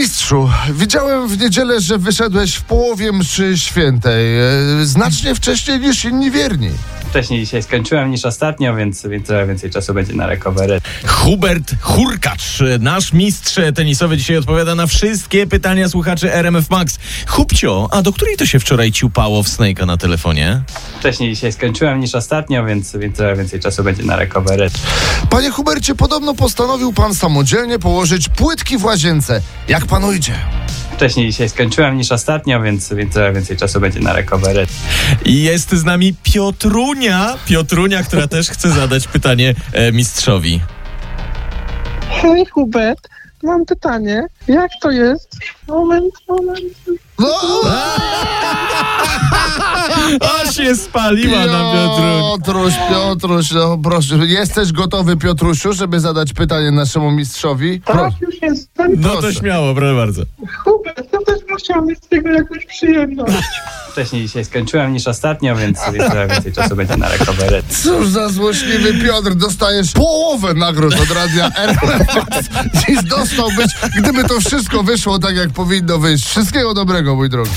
Piotrzu, widziałem w niedzielę, że wyszedłeś w połowie mszy świętej. e, Znacznie wcześniej niż inni wierni. Wcześniej dzisiaj skończyłem niż ostatnio, więc, więc trochę więcej czasu będzie na recovery. Hubert Hurkacz, nasz mistrz tenisowy, dzisiaj odpowiada na wszystkie pytania słuchaczy RMF Max. Hubcio, a do której to się wczoraj ciupało w Snake'a na telefonie? Wcześniej dzisiaj skończyłem niż ostatnio, więc, więc trochę więcej czasu będzie na recovery. Panie Hubercie, podobno postanowił pan samodzielnie położyć płytki w łazience. Jak pan ujdzie? Wcześniej dzisiaj skończyłem niż ostatnio, więc, więc trochę więcej czasu będzie na recovery. I Jest z nami Piotrunia, Piotrunia, która też chce zadać pytanie e, mistrzowi. Hej Hubert, mam pytanie. Jak to jest? Moment, moment. No, A się spaliła na Piotrunia. No Piotruś, Piotruś, no proszę. Jesteś gotowy, Piotrusiu, żeby zadać pytanie naszemu mistrzowi? Tak, Proszę. już jestem. No to proszę. śmiało, proszę bardzo. Hubert, ja też bym chciał mieć z tego jakąś przyjemność. Wcześniej dzisiaj skończyłem niż ostatnio, więc, więc trochę więcej czasu będzie na recovery. Cóż za złośliwy Piotr, dostajesz połowę nagród od radia RMF Dziś dostałbyś, gdyby to wszystko wyszło tak, jak powinno wyjść. Wszystkiego dobrego, mój drogi.